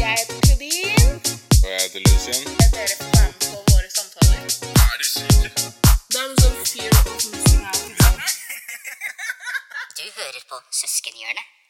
Jeg heter Claudine. Og jeg heter Lucian. Jeg dere får være med på våre samtaler. Er du syk? Det er noe sånn fyr og Du hører på Søskenhjørnet.